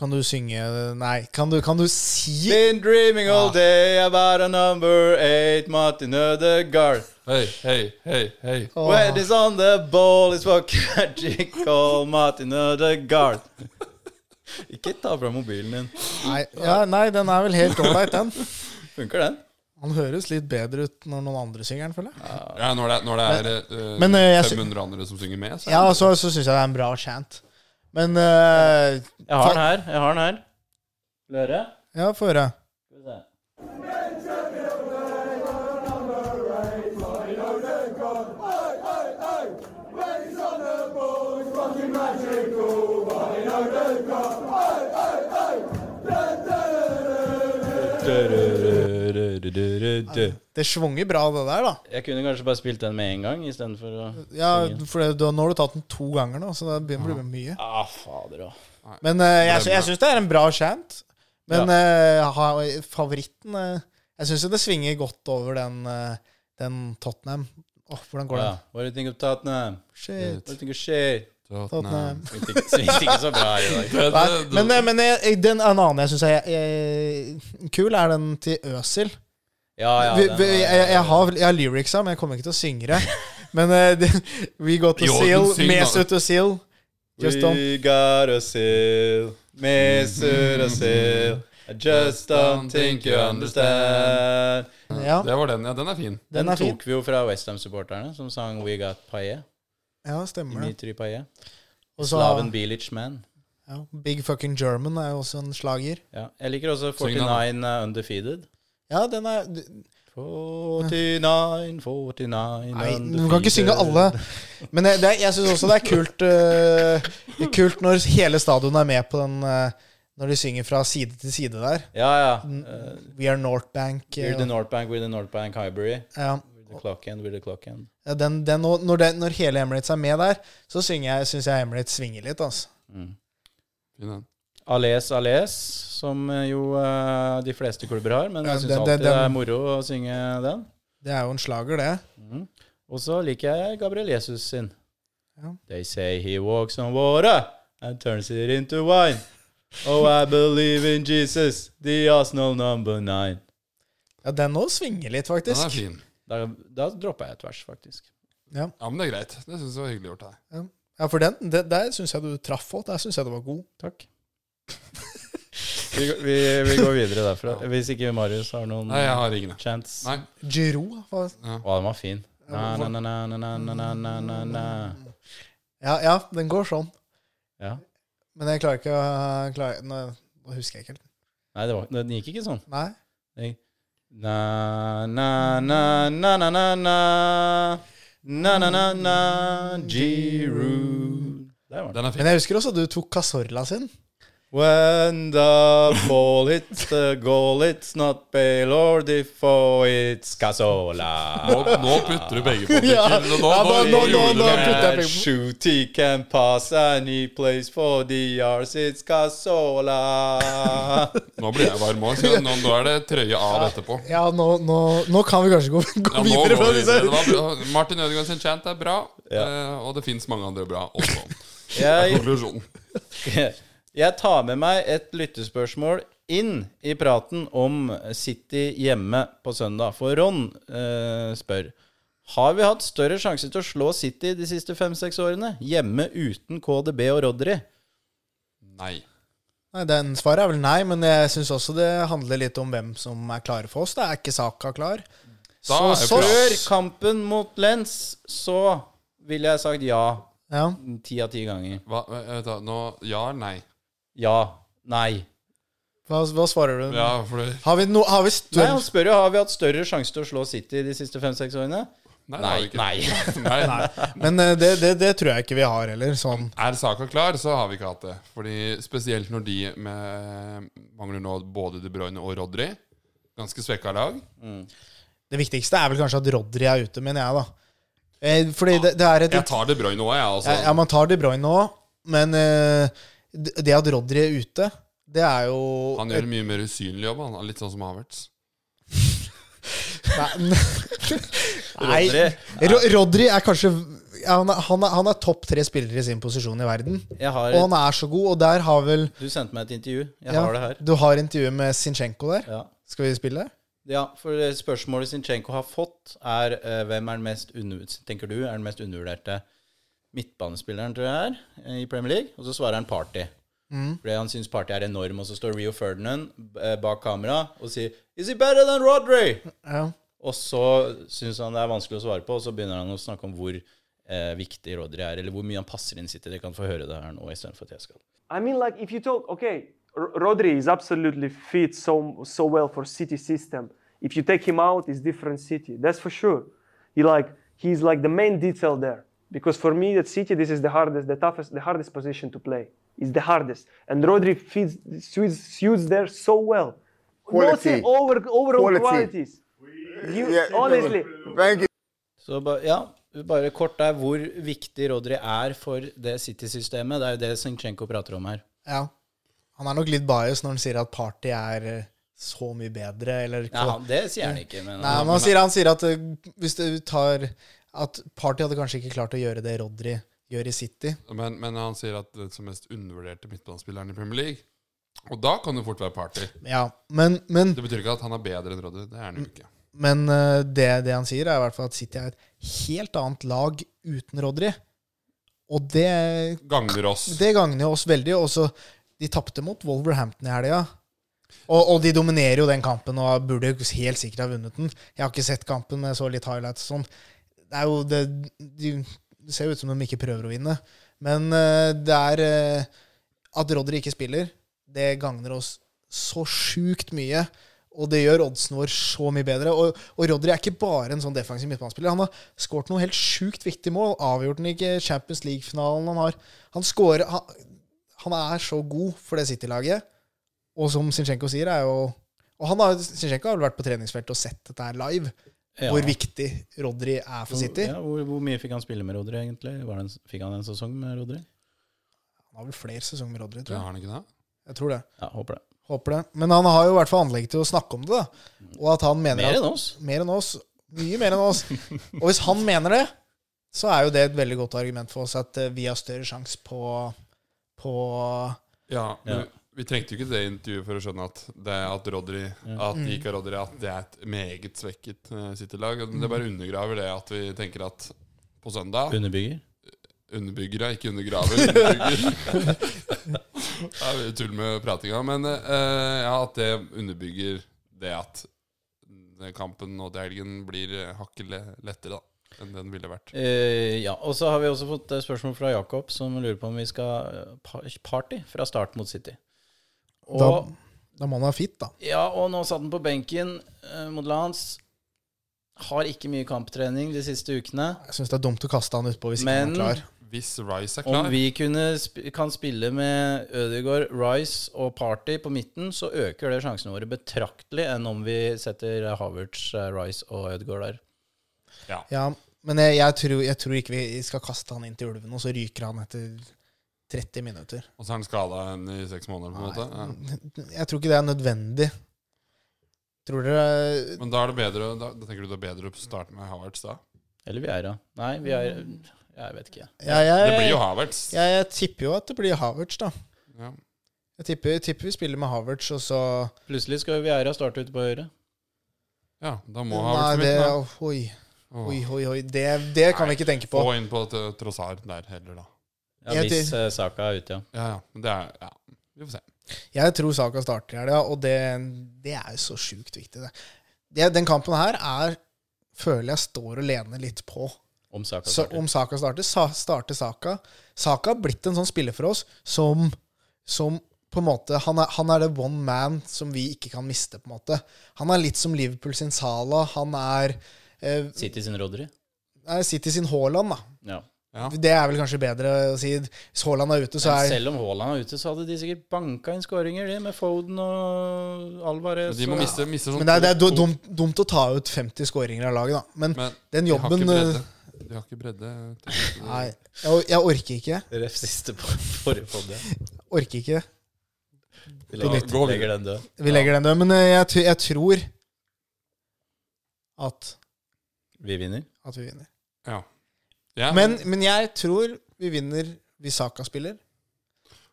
Kan du synge Nei, kan du, kan du si Been dreaming all all day about a number eight Martin Ødegaard. Hei, hei, hei, hei. Åh. When it's on the ball is what magic call Martin Ødegaard. <laughs> Ikke ta fra mobilen din. Nei, ja, nei, den er vel helt ålreit, den. Funker den? Han høres litt bedre ut når noen andre synger den, føler jeg. Ja, når det, når det er eh, Men, eh, jeg sy- 500 andre som synger med, så Ja, og så, så syns jeg det er en bra chant. Men eh, Jeg har den her. jeg har den her. Løre? Ja, få høre. Skal vi se. Det svunger bra, det der, da. Jeg kunne kanskje bare spilt den med en gang istedenfor å Ja, for det, da, Nå har du tatt den to ganger nå, så det begynner å bli mye. Ah, fader òg. Men eh, jeg, sy- jeg syns det er en bra chant. Men eh, ha- favoritten eh, Jeg syns jo det svinger godt over den, eh, den Tottenham. Åh, hvordan går Ja. den? What do you think of Tottenham? Shit. What do you think of shit? Tottenham. Svingte ikke- Svingte ikke så bra i dag. Sånn, eh, Nei, men eh, men jeg, jeg- den, en annen jeg syns er eh, kul, er den til Øsil. Ja, ja. vi, den vi, var- jeg, jeg, har, jeg har lyricsa, men jeg kommer ikke til å synge det. <laughs> Men eh, det, We Got To Jo, Seal, den syng, da. Mesut og Seal. Just don't We got a seal, Mesut Mm. a seal. I just don't think you understand. Ja, Det var den, ja. Den er fin. Den, den er fin. tok vi jo fra Westham-supporterne, som sang We Got Paillet. Ja, stemmer det. Dimitri Paillet. Og så Slaven Bilic Man. ja, Big Fucking German er jo også en slager. Ja. Jeg liker også Syng den, da. 49 Undefeated. Ja, den er 49, 49 Nei, Undefeated. du kan ikke synge alle. Men jeg, det, er- jeg syns også det er kult eh, det er Kult når hele stadionet er med på den eh, Når de synger fra side til side der. Ja, ja. Mm. Eh, We Are North Bank. eh, we're the North Bank, we're the North Bank Highbury. ja. We're the clock end, we're the clock end. Ja, den, den, og når, den, når hele Emirates er med der, så synger jeg, syns jeg Emirates svinger litt. Altså. Mm. fin den. Ales Ales, som eh, jo eh, de fleste klubber har, men Ja, jeg syns den- alltid den- det den- er moro å synge den. Det er jo en slager, det. Og så liker jeg Gabriel Jesus sin. Ja. They say he walks on water and turns it into wine. Oh, I believe in Jesus, the Arsenal number nine. Ja, den òg svinger litt, Den faktisk. er fin. Da, da droppa jeg et vers, faktisk. Ja, men det er greit. Det syns jeg var hyggelig gjort av deg. Ja, for den, det, der syns jeg du traff òg. Der syns jeg du var god. <laughs> Takk. vi, går- vi, vi går videre derfra. Hvis ikke Marius har Mm. noen Nei, jeg har ingen. jeg. chance. Nei. Giroud var Å, den var fin. Na, na, na, na, na, na, na, na, na, na. ja, ja, den går sånn. Ja. Men jeg klarer ikke å klarer, nå, nå husker jeg ikke helt. Nei, det var, den gikk ikke sånn. Nei. Na, na, na, na, na, na, na. Na, na, na, na, Giroud. Der var den. Den er <laughs> fin. Men jeg husker også du tok Casorla sin. When the ball hits the goal, it's not Bale or Defoe, it's Nå, Casola. nå putter du begge på <laughs> Ja. pikken. Nå, nå, Ja, nå, nå- nå- nå- gjorde du nå det. putter jeg And shoot, he can pass, and he plays for the Rs, it's <laughs> Casola. Nå blir jeg varm òg. Nå, nå er det trøye av etterpå. Ja, nå, nå, nå kan vi kanskje gå, gå Ja, nå går videre vi fra disse. videre. Det var bra. Martin Ødegaard sin chant er bra, eh, og det fins mange andre bra også. Jeg <laughs> Konklusjonen. Jeg tar med meg et lyttespørsmål inn i praten om City hjemme på søndag. For Ron eh, spør Har vi hatt større sjanse til å slå City de siste fem-seks årene? Hjemme uten KDB og Rodri? Nei. Nei, den Svaret er vel nei, men jeg syns også det handler litt om hvem som er klare for oss. Da er ikke Saka klar. Da Så- er jo så- plass. Før kampen mot Lens så ville jeg sagt ja Ja. ti av ti ganger. Hva, eh, vent da, nå, ja eller nei? Ja. Nei. Hva, hva svarer du? Ja, altså- for det, Har vi, no, har vi Nei, større Han spør jo har vi hatt større sjanse til å slå City de siste fem-seks årene. nei, det har vi Nei. ikke. nei. <laughs> nei. nei. Men eh, det, det, det tror jeg ikke vi har heller. Sånn. Er saka klar, så har vi ikke hatt det. Fordi Spesielt når de med, mangler nå både De Bruyne og Rodri. Ganske svekka lag. Det viktigste er vel kanskje at Rodri er ute, mener jeg, da. Eh, Fordi det, det er et Jeg tar De Bruyne òg, jeg. Altså. Ja, ja, man tar De Bruyne nå, men eh, det det at Rodri er ute, det er jo Han gjør en mye mer usynlig jobb. Han er litt sånn som Havertz. Nei, <laughs> Rodri. Ro Rodri er kanskje ja, han, er, han, er, han er topp tre spillere i sin posisjon i verden. Jeg har Og han er så god, og der har vel Du sendte meg et intervju. Jeg ja, har det her. Du har intervjuet med Sinchenko der. Ja. Skal vi spille? Ja, for spørsmålet Sinchenko har fått, er eh, hvem er den mest, under, tenker du, er den mest undervurderte midtbanespilleren, tror jeg er, eh, i Premier League? Og så svarer han Party. Fordi han syns Party er enorm, og så står Rio Ferdinand eh, bak kamera og sier Is he better than Rodri? Ja. Og så syns han det er vanskelig å svare på, og så begynner han å snakke om hvor eh, viktig Rodri er, eller hvor mye han passer inn sitt i. Dere kan få høre det her nå istedenfor at jeg skal. I mean, like if you told, okay, R- Rodri is absolutely fit so so well for City system. If you take him out, it's different City. That's for sure. He like he's like the main detail there because for me at City this is the hardest, the toughest, the hardest position to play. It's the hardest, and Rodri fits suits, suits there so well. Quality. Nothing over overall Quality. qualities. You, Yeah. honestly. Thank you. Så ba, ja, bare kort der hvor viktig Rodri er for det City-systemet. Det er jo det Sinchenko prater om her. ja. Han er nok litt bias når han sier at Party er eh, så mye bedre, eller Ja, han, det sier han ikke, men Nei, men han sier, han sier at eh, hvis du tar At Party hadde kanskje ikke klart å gjøre det Rodri gjør i City. Men, men han sier at den som mest undervurderte midtbanespilleren i Premier League. Og da kan det fort være party. Ja, men, men, Det betyr ikke at han er bedre enn Rodri. Det er han jo ikke. men eh, det, det han sier, er i hvert fall at City er et helt annet lag uten Rodri. Og det, Gagner oss. det gagner jo oss veldig. Også, de tapte mot Wolverhampton i helga. Og, og de dominerer jo den kampen og burde jo helt sikkert ha vunnet den. Jeg har ikke sett kampen, men jeg så litt highlights og sånn. Det er jo det, de, det ser jo ut som de ikke prøver å vinne. Men eh, det er eh, At Rodri ikke spiller, det gagner oss så sjukt mye. Og det gjør oddsen vår så mye bedre. Og, og Rodri er ikke bare en sånn defensiv midtbanespiller. Han har skåret noen helt sjukt viktige mål. Avgjort den ikke Champions League-finalen. Han har Han skårer han, han er så god for det City-laget. Og som Sinchenko sier, er jo Og han har, Sinchenko har vel vært på treningsfeltet og sett dette her live. Ja. Hvor viktig Rodri er for City. Ja, hvor, hvor mye fikk han spille med Rodri, egentlig? Var det en, fikk han en sesong med Rodri? Han har vel flere sesonger med Rodri, Ja, tror jeg. har han ikke det? Jeg tror det. Ja, håper det. Håper det. Men han har jo i hvert fall anlegg til å snakke om det, da. Og at han mener Mer at enn oss. Mer enn oss. Mye mer enn <laughs> oss. Og hvis han mener det, så er jo det et veldig godt argument for oss at eh, vi har større sjanse på, på Ja, men Ja. Vi trengte jo ikke det intervjuet for å skjønne at det at Rodri At de ikke har Rodri, at det er et meget svekket eh, City-lag. Og Det bare undergraver det at vi tenker at på søndag Underbygger. Underbygger, ja. Ikke undergraver. Underbygger. <laughs> det er tull med pratinga. Men eh, ja, at det underbygger det at kampen nå til helgen blir eh, hakket le- lettere da, enn den ville vært. Eh, ja, og så har vi også fått eh, spørsmål fra Jakob, som lurer på om vi skal eh, pa- party fra start mot City. Og Da, da må han ha fit, da. Ja, og nå satt han på benken eh, mot Lance. Har ikke mye kamptrening de siste ukene. Jeg syns det er dumt å kaste han utpå hvis ikke Men- han er klar. Hvis Rice er Om klar vi kunne, sp- kan spille med Ødegaard, Rice og Party på midten, så øker det sjansene våre betraktelig enn om vi setter Havertz, eh, Rice og Ødegaard der. Ja, men jeg, jeg, tror, jeg tror ikke vi skal kaste han inn til ulvene, og så ryker han etter 30 minutter. Og så er han skada enn i seks måneder, på en måte. Ja. Jeg tror ikke det er nødvendig. Tror dere Men da er det bedre Da, da tenker du det er bedre å starte med Havertz da? Eller Vieira. Nei, vi er Mm. Jeg vet ikke. Ja, jeg, Det blir jo Havertz. jeg, jeg tipper jo at det blir Havertz, da. Ja. Jeg tipper, tipper vi spiller med Havertz, og så Plutselig skal Vieira starte ute på høyre. Ja, da må ha Nei, vært det for Oi, oi, mye. oi. oi. Det, det kan vi ikke tenke på. Få inn på et, eh, Trossard der heller, da. Ja, Jeg hvis til- eh, Saka er ute, ja. Ja, ja. Men det er Ja, vi får se. Jeg tror Saka starter i helga, og det, det er jo så sjukt viktig, det. det. Den kampen her er Føler jeg står og lener litt på. Om Saka Så starter. om Saka starter, sa, starter Saka. Saka har blitt en sånn spiller for oss som, som på en måte, han er, han er det one man som vi ikke kan miste. på en måte. Han er litt som Liverpool sin Sala. Han er eh, City sin Rodri. nei, City sin Haaland, da. Ja. Ja. Det er vel kanskje bedre å si. Hvis Haaland er ute, så Men er selv om Haaland er ute, så hadde de sikkert banka inn skåringer, de, med Foden og Alvarez. Men de må og- miste, miste sånn Men det er, det er to- du- dumt, dumt å ta ut 50 skåringer av laget, da. Men, Men den de har ikke jobben bredde. eh, De har ikke bredde. Nei, jeg, jeg orker ikke. Ref siste på forrige podde. Orker ikke. Vi legger- legger, Gå videre. legger den død. Vi legger den død. Men eh, jeg, t- jeg tror at, Vi vinner. at vi vinner. Ja. Ja, Men, men jeg tror vi vinner hvis Saka spiller.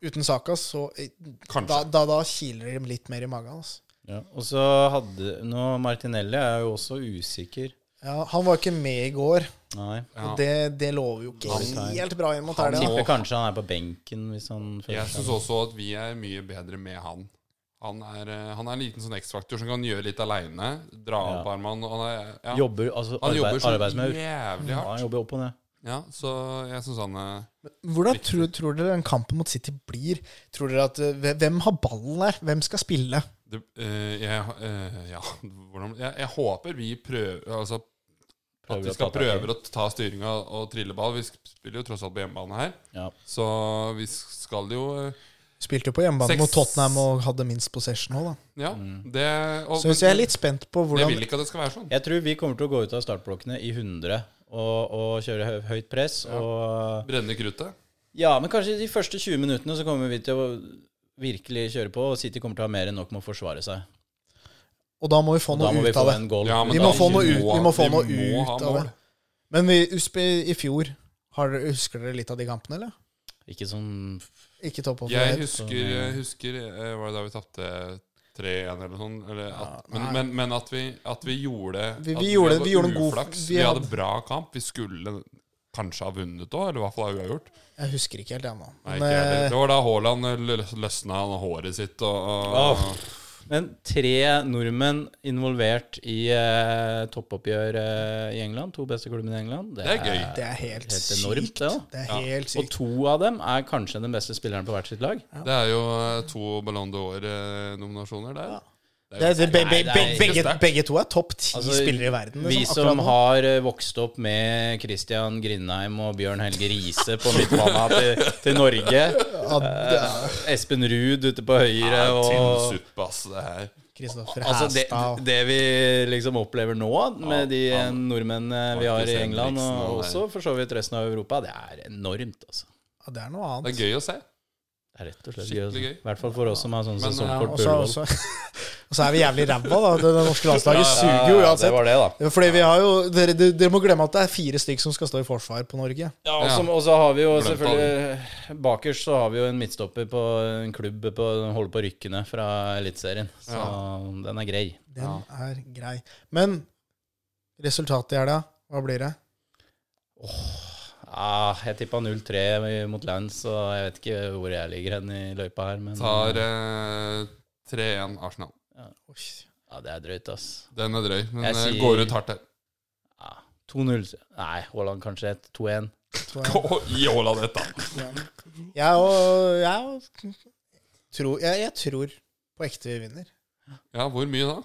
Uten Saka, så eh, Kanskje. da, da, da kiler det litt mer i magen. Altså. Ja. Og så hadde Nå, Martinelli er jo også usikker. Ja, han var ikke med i går, Nei. ja. og det, det lover jo ikke Han- helt bra inn mot han helga. må- Tipper kanskje han er på benken hvis han føler Jeg syns også at vi er mye bedre med han. Han er, eh, han er en liten sånn X-faktor som kan gjøre litt aleine. Dra Ja. opp armene. og Han, er- ja. Jobber, altså, han arbeid, jobber så arbeidsmaur. Mm. jævlig Ja, han hardt. jobber opp og ned. Ja, så jeg syns han eh, Hvordan tror, tror dere den kampen mot City blir? Tror dere at eh, Hvem har ballen der? Hvem skal spille? det, eh, jeg, eh, ja, <laughs> hvordan, jeg, jeg håper vi prøver Altså at Prøver vi å skal ta tak i det. prøve å ta styringa og trille ball. Vi sk- spiller jo tross alt på hjemmebane her, Ja. så vi skal jo eh, Spilte jo på hjemmebane Seks- mot Tottenham og hadde minst possession òg, da. Ja, Mm. det og, Så hvis jeg er litt spent på Jeg hvordan vil ikke at det skal være sånn. Jeg tror vi kommer til å gå ut av startblokkene i 100 og, og kjøre hø- høyt press. Og, Brenne kruttet. ja, men kanskje de første 20 minuttene så kommer vi til å virkelig kjøre på, og City kommer til å ha mer enn nok med å forsvare seg. Og da må vi få Og da noe må vi ut få av det. en goal. Ja, men Vi da- må få noe ut, vi må få vi noe må ha ut av det. mål. Men vi, husp- i fjor har, dere- Husker dere litt av de kampene, eller? Ikke sånn Ikke topp opp Jeg helt. husker, Så- jeg husker eh, Var det da vi tapte 3-1 eller noe sånt? Eller at, men, nei. men, men at vi, at vi gjorde Vi- vi at gjorde- hadde vi gjorde en god- uflaks. vi Vi hadde hadde- bra kamp. Vi skulle kanskje ha vunnet òg, eller i hvert fall ha uavgjort. Jeg husker ikke helt ennå. Nei, Men ikke jeg heller. eh, Det var da Haaland lø- løsna håret sitt og, og Åh. Men tre nordmenn involvert i eh, toppoppgjør eh, i England, to beste klubbene i England, det, Det er gøy. eh, det er Helt helt, sykt. enormt, det, da. det er Ja. helt Og sykt. to av dem er kanskje den beste spilleren på hvert sitt lag. Det er jo eh, to Ballon d'Or-nominasjoner der. Det, er- det, be, be, Nei, det be, er- begge, begge to er topp ti Altså, spillere i verden. Vi liksom, som akkurat nå. har eh, vokst opp med Christian Grindheim og Bjørn Helge Riise på <laughs> midtbana til, til Norge. Ja, det eh, er Espen Ruud ute på Det høyre er og Tynnsuppe, ass, det her. Kristoffer Altså det, Hæstad og- det vi liksom opplever nå, med de eh, nordmennene vi har i Markus England, Henriksen og og også for så vidt resten av Europa, det er enormt, altså. ja, Det er noe Det annet. er gøy å se. Det er rett og slett gøy. Skikkelig altså. gøy. I hvert fall for oss som har sånn Men, ja, sesongkort på Og så Ullevål. og så- <laughs> og så er vi jævlig ræva, da. Det, det norske landslaget suger jo det uansett. var det, da. Fordi vi har jo, dere, dere dere må glemme at det er fire stykk som skal stå i forsvar på Norge. Ja, og Ja. så- og så har vi jo Glemt selvfølgelig Bakerst så har vi jo en midtstopper på en klubb på holder på rykkene fra Eliteserien. Så den er grei. Den er grei. Men resultatet i helga, hva blir det? Ja, jeg tippa 0-3 mot Lance, og jeg vet ikke hvor jeg ligger hen i løypa her, men Tar eh, 3-1 Arsenal. Oi, Ja, det er drøyt, ass. Den er drøy, men Jeg eh, sier- går ut hardt der. Ja, 2-0 Nei, Haaland kanskje et 2-1. to- Gå i Haaland ett, da. Jeg og Jeg, og, tror, jeg, jeg tror på ekte vi vinner. Ja, hvor mye da?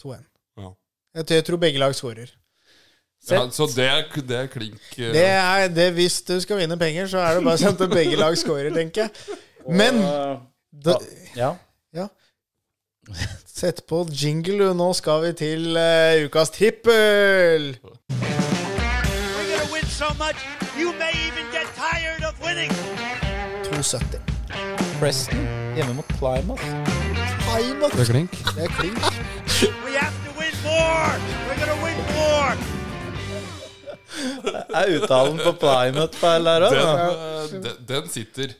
2-1. Ja. Jeg, tror- jeg tror begge lag skårer. Sett. Ja, så det er, det er klink eh, Det er det Hvis du skal vinne penger, så er det bare sånn at begge lag skårer, tenker jeg. Men da, Ja. sett på jingle, du. Nå skal vi til eh, ukas trippel. We're going to win so much, you may even get tired of winning. 2,70. Preston hjemme mot Plymouth. Nei, Mats. Det er <laughs> klink. Det er klink. We have to win more. We're going to win more. Er uttalen på Plymouth feil der Den, òg? eh, den, den sitter.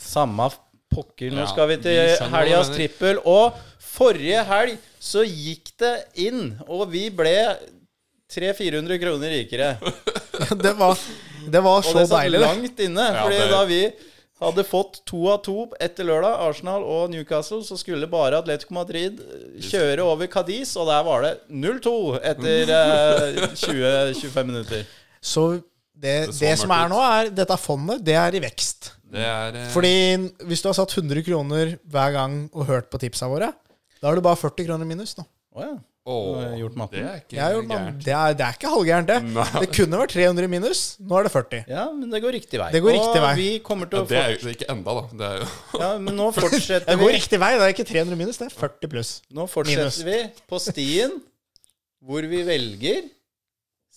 Samme pokker, nå Ja, skal vi vi til skjønner hva du helgas mener. trippel. Og forrige helg så gikk det inn, og vi ble 300-400 kroner rikere. <laughs> Det var, det var Og så det satt deilig, det. langt inne. Ja, fordi det- da vi hadde fått to av to etter lørdag, Arsenal og Newcastle, så skulle bare Atletico Madrid eh, kjøre over Cadiz, og der var det 0-2 etter eh, 20-25 minutter. Så det, Det så det som mørkt er ut. nå, er dette fondet, det er i vekst. Det er eh, Fordi hvis du har satt 100 kroner hver gang og hørt på tipsa våre, da har du bare 40 kroner minus nå. Å ja. åh, har jeg gjort matten. Det er ikke Jeg har gjort meg- gærent. det, er, det er ikke halvgærent, det. Nei. Det kunne vært 300 minus. Nå er det 40. ja, men det går riktig vei. Det går riktig vei. Og vi kommer til Ja, å det få er jo ikke enda, da. Det er jo Ja, men nå fortsetter <laughs> Det går vi. riktig vei. Det er ikke 300 minus, det er 40 pluss. Nå fortsetter Minus. vi på stien hvor vi velger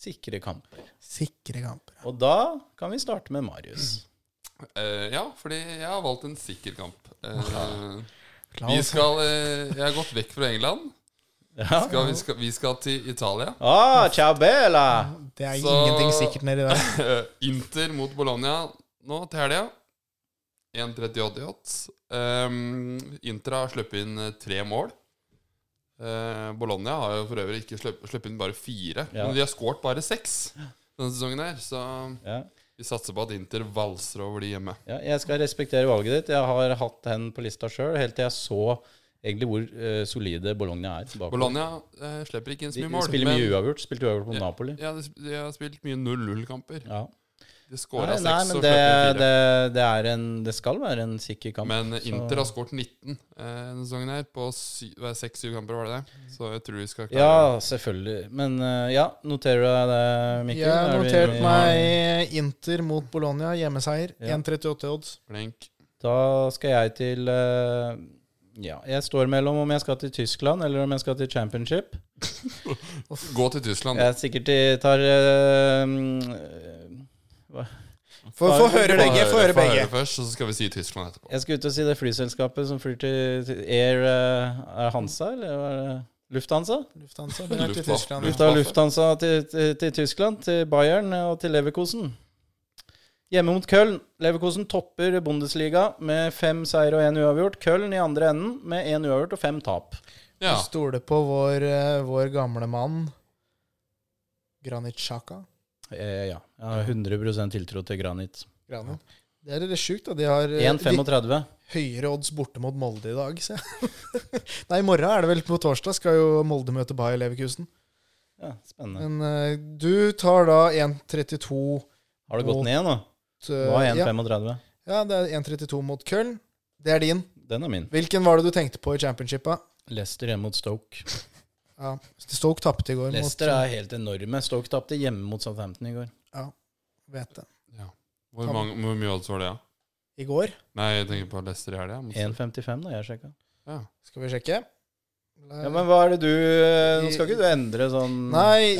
sikre kamper. Sikre kamper. Og da kan vi starte med Marius. <laughs> Eh, Ja, fordi jeg har valgt en sikker kamp. Eh, Klar. Vi skal eh, Jeg har gått vekk fra England. Ja. Skal, vi, skal, vi skal til Italia. Ah, ciao bella! Det er Så- ingenting sikkert nedi <laughs> der. Eh, Inter mot Bologna nå til helga. 1.38 i odds. Um, Inter har sluppet inn eh, tre mål. Eh, Bologna har jo for øvrig ikke sluppet, sluppet inn bare fire, Ja. men de har skåret bare seks denne sesongen her. Så Ja. vi satser på at Inter valser over de hjemme. Ja, jeg skal respektere valget ditt. Jeg har hatt hen på lista sjøl helt til jeg så egentlig hvor eh, solide Bologna er. tilbake. Bologna eh, slipper ikke inn så de, mye mål. spiller mye men- uavgjort. Spilte uavgjort mot Napoli. Ja, de, sp- de har spilt mye 0-0-kamper. Ja. De Nei, skåra nei, seks men og det, slapp inn det, fire. det, er en, det skal være en sikker kamp. Men Inter så- har skåret 19 eh, denne sesongen her på sy- hva er det, seks-syv kamper, var det det? Så jeg tror vi skal Ja, selvfølgelig. Men eh, ja, noterer du deg det, Mikkel? Jeg Er har vi- notert meg Inter mot Bologna, hjemmeseier. 1,38 odds. Flink. Da skal jeg til eh, Ja, jeg står mellom om jeg skal til Tyskland eller om jeg skal til Championship. Gå til Tyskland. Jeg er sikkert i- tar eh, mm, Få få høre begge. Få høre Få begge. først, og så skal vi si Tyskland etterpå. Jeg skulle ut og si det flyselskapet som flyr til til Air eh, er Hansa, eller hva er det? Lufthansa? Lufthansa. Vi er til Lufthansa. Tyskland. Lufta Lufthansa til, til, til Tyskland, til Bayern og til Leverkusen. Hjemme mot Köln. Leverkusen topper Bundesliga med fem seier og én uavgjort. Köln i andre enden med én uavgjort og fem tap. Ja. Stole på vår, eh, vår gamle mann Granit Xhaka. Eh, ja. Jeg har 100 tiltro til Granit. Granit. Det er litt sjukt, da. De har eh, de 1,35. høyere odds borte mot Molde i dag, ser jeg. <laughs> Nei, i morgen er det vel på torsdag, skal jo Molde møte Bayer Leverkusen. Ja, spennende. Men eh, du tar da 1,32 Har det gått ned nå? Det var eh, ja, 1,35. ja, det er 1,32 mot Köln. Det er din. Den er min. Hvilken var det du tenkte på i championshipet? Leicester hjemme mot Stoke. Ja. Stoke tapte i går Leicester mot er helt enorme. Stoke tapte hjemme mot Southampton i går. vet det. Hvor, mange, hvor mye odds var det, ja? I går. Nei, jeg tenker på Leicester i helga. mot- 1,55 da jeg sjekka. Ja. Skal vi sjekke? Ja, men hva er det du eh, Nå skal ikke du endre sånn Nei,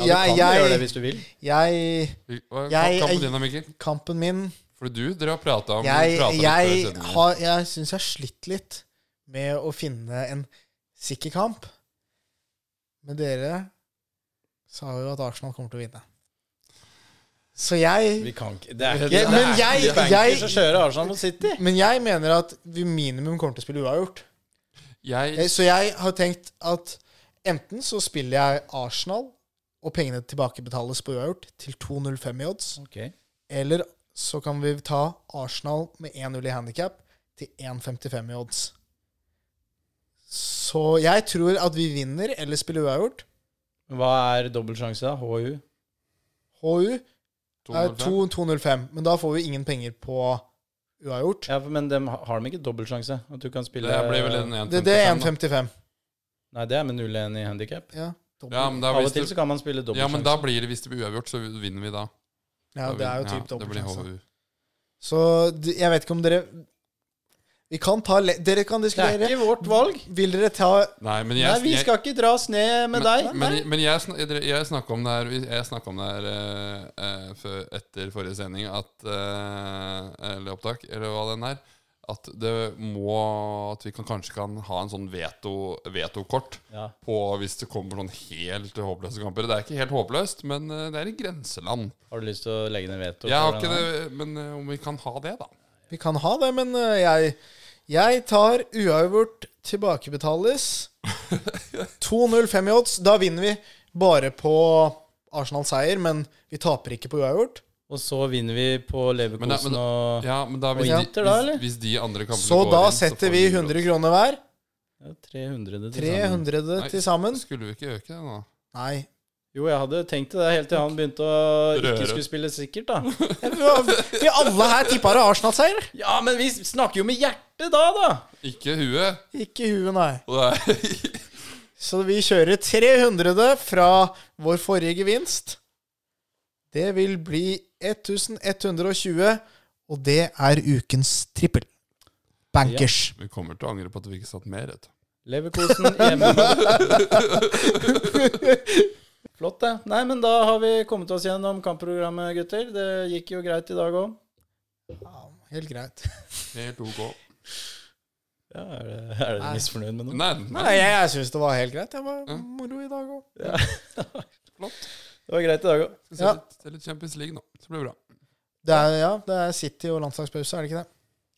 ja, Du jeg- kan jo jeg- gjøre det hvis du vil. Jeg Vi- Hva er Jeg- kampen jeg- din da, Mikkel? Kampen min For du dere har prata om Jeg, pratet litt jeg, før sendingen. har- jeg syns jeg har slitt litt med å finne en sikker kamp. Men dere sa jo at Arsenal kommer til å vinne. Så jeg Vi kan ikke Det er ikke Ja, men jeg- det er ikke jeg- banker som kjører Arsenal mot City. Men jeg mener at vi minimum kommer til å spille uavgjort. Eh, Jeg, Så jeg har tenkt at enten så spiller jeg Arsenal, og pengene tilbakebetales på uavgjort til 2,05 i odds. Ok Eller så kan vi ta Arsenal med 1-0 i handikap til 1,55 i odds. Så jeg tror at vi vinner eller spiller uavgjort. Hva er dobbeltsjanse, da? HU? HU er 205. 2,05, men da får vi ingen penger på uavgjort. Ja, men dem, har de ikke dobbeltsjanse? At du kan spille Det blir vel en Det, det er 1,55. 1,55. Nei, det er med 0-1 i handikap. Ja, da. dobbelt. Ja, men da Av og hvis til så det- kan man spille ja, men da dobbeltsjanse. blir det hvis det blir uavgjort, så vinner vi da. ja, Da det er jo vinner- typ ja, det blir dobbeltsjanse. HU. Så d- jeg vet ikke om dere Vi kan ta le Dere kan Det er diskutere. ikke vårt valg. Vil dere ta Nei, men jeg, Nei, vi jeg- skal ikke dras ned med deg. Men, men, men jeg, sn- dere- jeg snakka om det her, jeg snakket om det her eh, eh, før, etter forrige sending, at, eh, eller opptak, eller hva den er, at det må At vi kan, kanskje kan ha en sånn veto- veto-kort Ja. på hvis det kommer noen helt håpløse kamper. Det er ikke helt håpløst, men eh, det er i grenseland. Har du lyst til å legge ned veto? på Jeg har den ikke her? det, men eh, om vi kan ha det, da. Vi kan ha det, men øh, jeg, Jeg tar uavgjort tilbakebetales. <laughs> 2-0-5 i odds. Da vinner vi bare på Arsenal-seier, men vi taper ikke på uavgjort. Og så vinner vi på Men da- men Leverkosen da- og Ja, men da Og hvis, de- Inter da, hvis, eller? hvis de andre kampene Så går da inn, så setter får vi vi 100 kroner hver. ja, 300 til sammen. 300 Nei, til sammen. Skulle vi ikke øke det nå? Nei. Jo, jeg hadde tenkt det helt til han begynte å ikke Røre. skulle spille sikkert, da. Vi vi alle her tippa det Arsenal-seier. Ja, men vi snakker jo med hjertet da, da! Ikke huet. Ikke i huet, nei. Og det <laughs> er- Så vi kjører 300 fra vår forrige gevinst. Det vil bli 1120, og det er ukens trippel. Bankers. Vi kommer til å angre på at vi ikke satt mer. Vet. du. Leverkosen hjemme. <laughs> Flott, det. Nei, men da har vi kommet oss gjennom kampprogrammet, gutter. Det gikk jo greit i dag òg. Helt greit. Helt ok. Ja, er det- er dere misfornøyd med noe? Nei, Nei, nei. jeg, jeg syns det var helt greit. Det var moro i dag òg. Det var greit i dag òg. Skal se Ja. litt, se litt Champions League nå. Så blir det bra. Det er, ja, det er City og landslagspause, er det ikke det?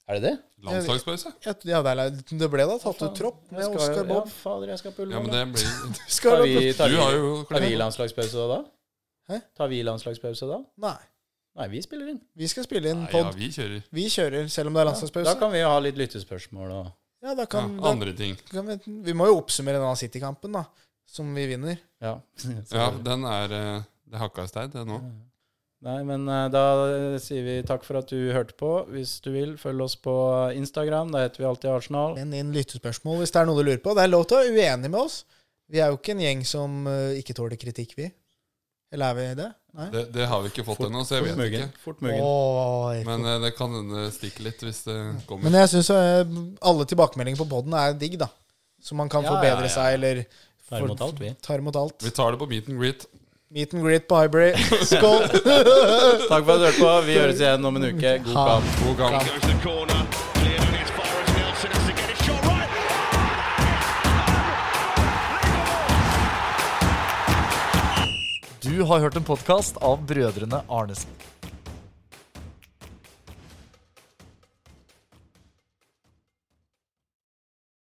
Er det det? Landslagspause? Ja, Ja, det, er, det ble da tatt ut tropp med Jeg skal- Oscar Ja, Bob. fader, jeg skal på Ja, men Ullevål. det blir <laughs> <laughs> Tar Skal vi, tar Du har vi, jo tar vi landslagspause da? Hæ? Tar vi landslagspause da? Nei. Nei, vi spiller inn. Vi skal spille inn Nei, ja, pod. vi kjører. Vi kjører, selv om det er landslagspause. Da kan vi jo ha litt lyttespørsmål og Ja, da Ja, kan, da andre ting. kan vi, vi må jo oppsummere denne City-kampen, da. Som vi vinner. Ja. Så- Ja, den er eh, Det hakka i stein, det nå. Nei, men eh, da eh, sier vi takk for at du hørte på. Hvis du vil, følg oss på Instagram. Da heter vi alltid Arsenal. Send inn lyttespørsmål hvis det er noe du lurer på. Det er lov til å være uenig med oss. Vi er jo ikke en gjeng som eh, ikke tåler kritikk, vi. Eller er vi det? Nei? Det, det har vi ikke fått ennå, så jeg vet ikke. Muggen. Fort muggen. Oi. Men eh, det kan hende det stikker litt hvis det kommer. Men jeg syns alle tilbakemeldinger på poden er digg, da. Så man kan Ja, ja, ja. forbedre seg, eller Tar imot alt, vi. Tar imot alt. Vi tar det på meet and greet. Meet and great på <laughs> Hybrid. Skål! Takk for at du hørte på. Vi høres igjen om en uke. God kamp. God gang. Goes the corner. Cleared on his far as Nelson has to get it shot right. Du har hørt en podkast av brødrene Arnesen.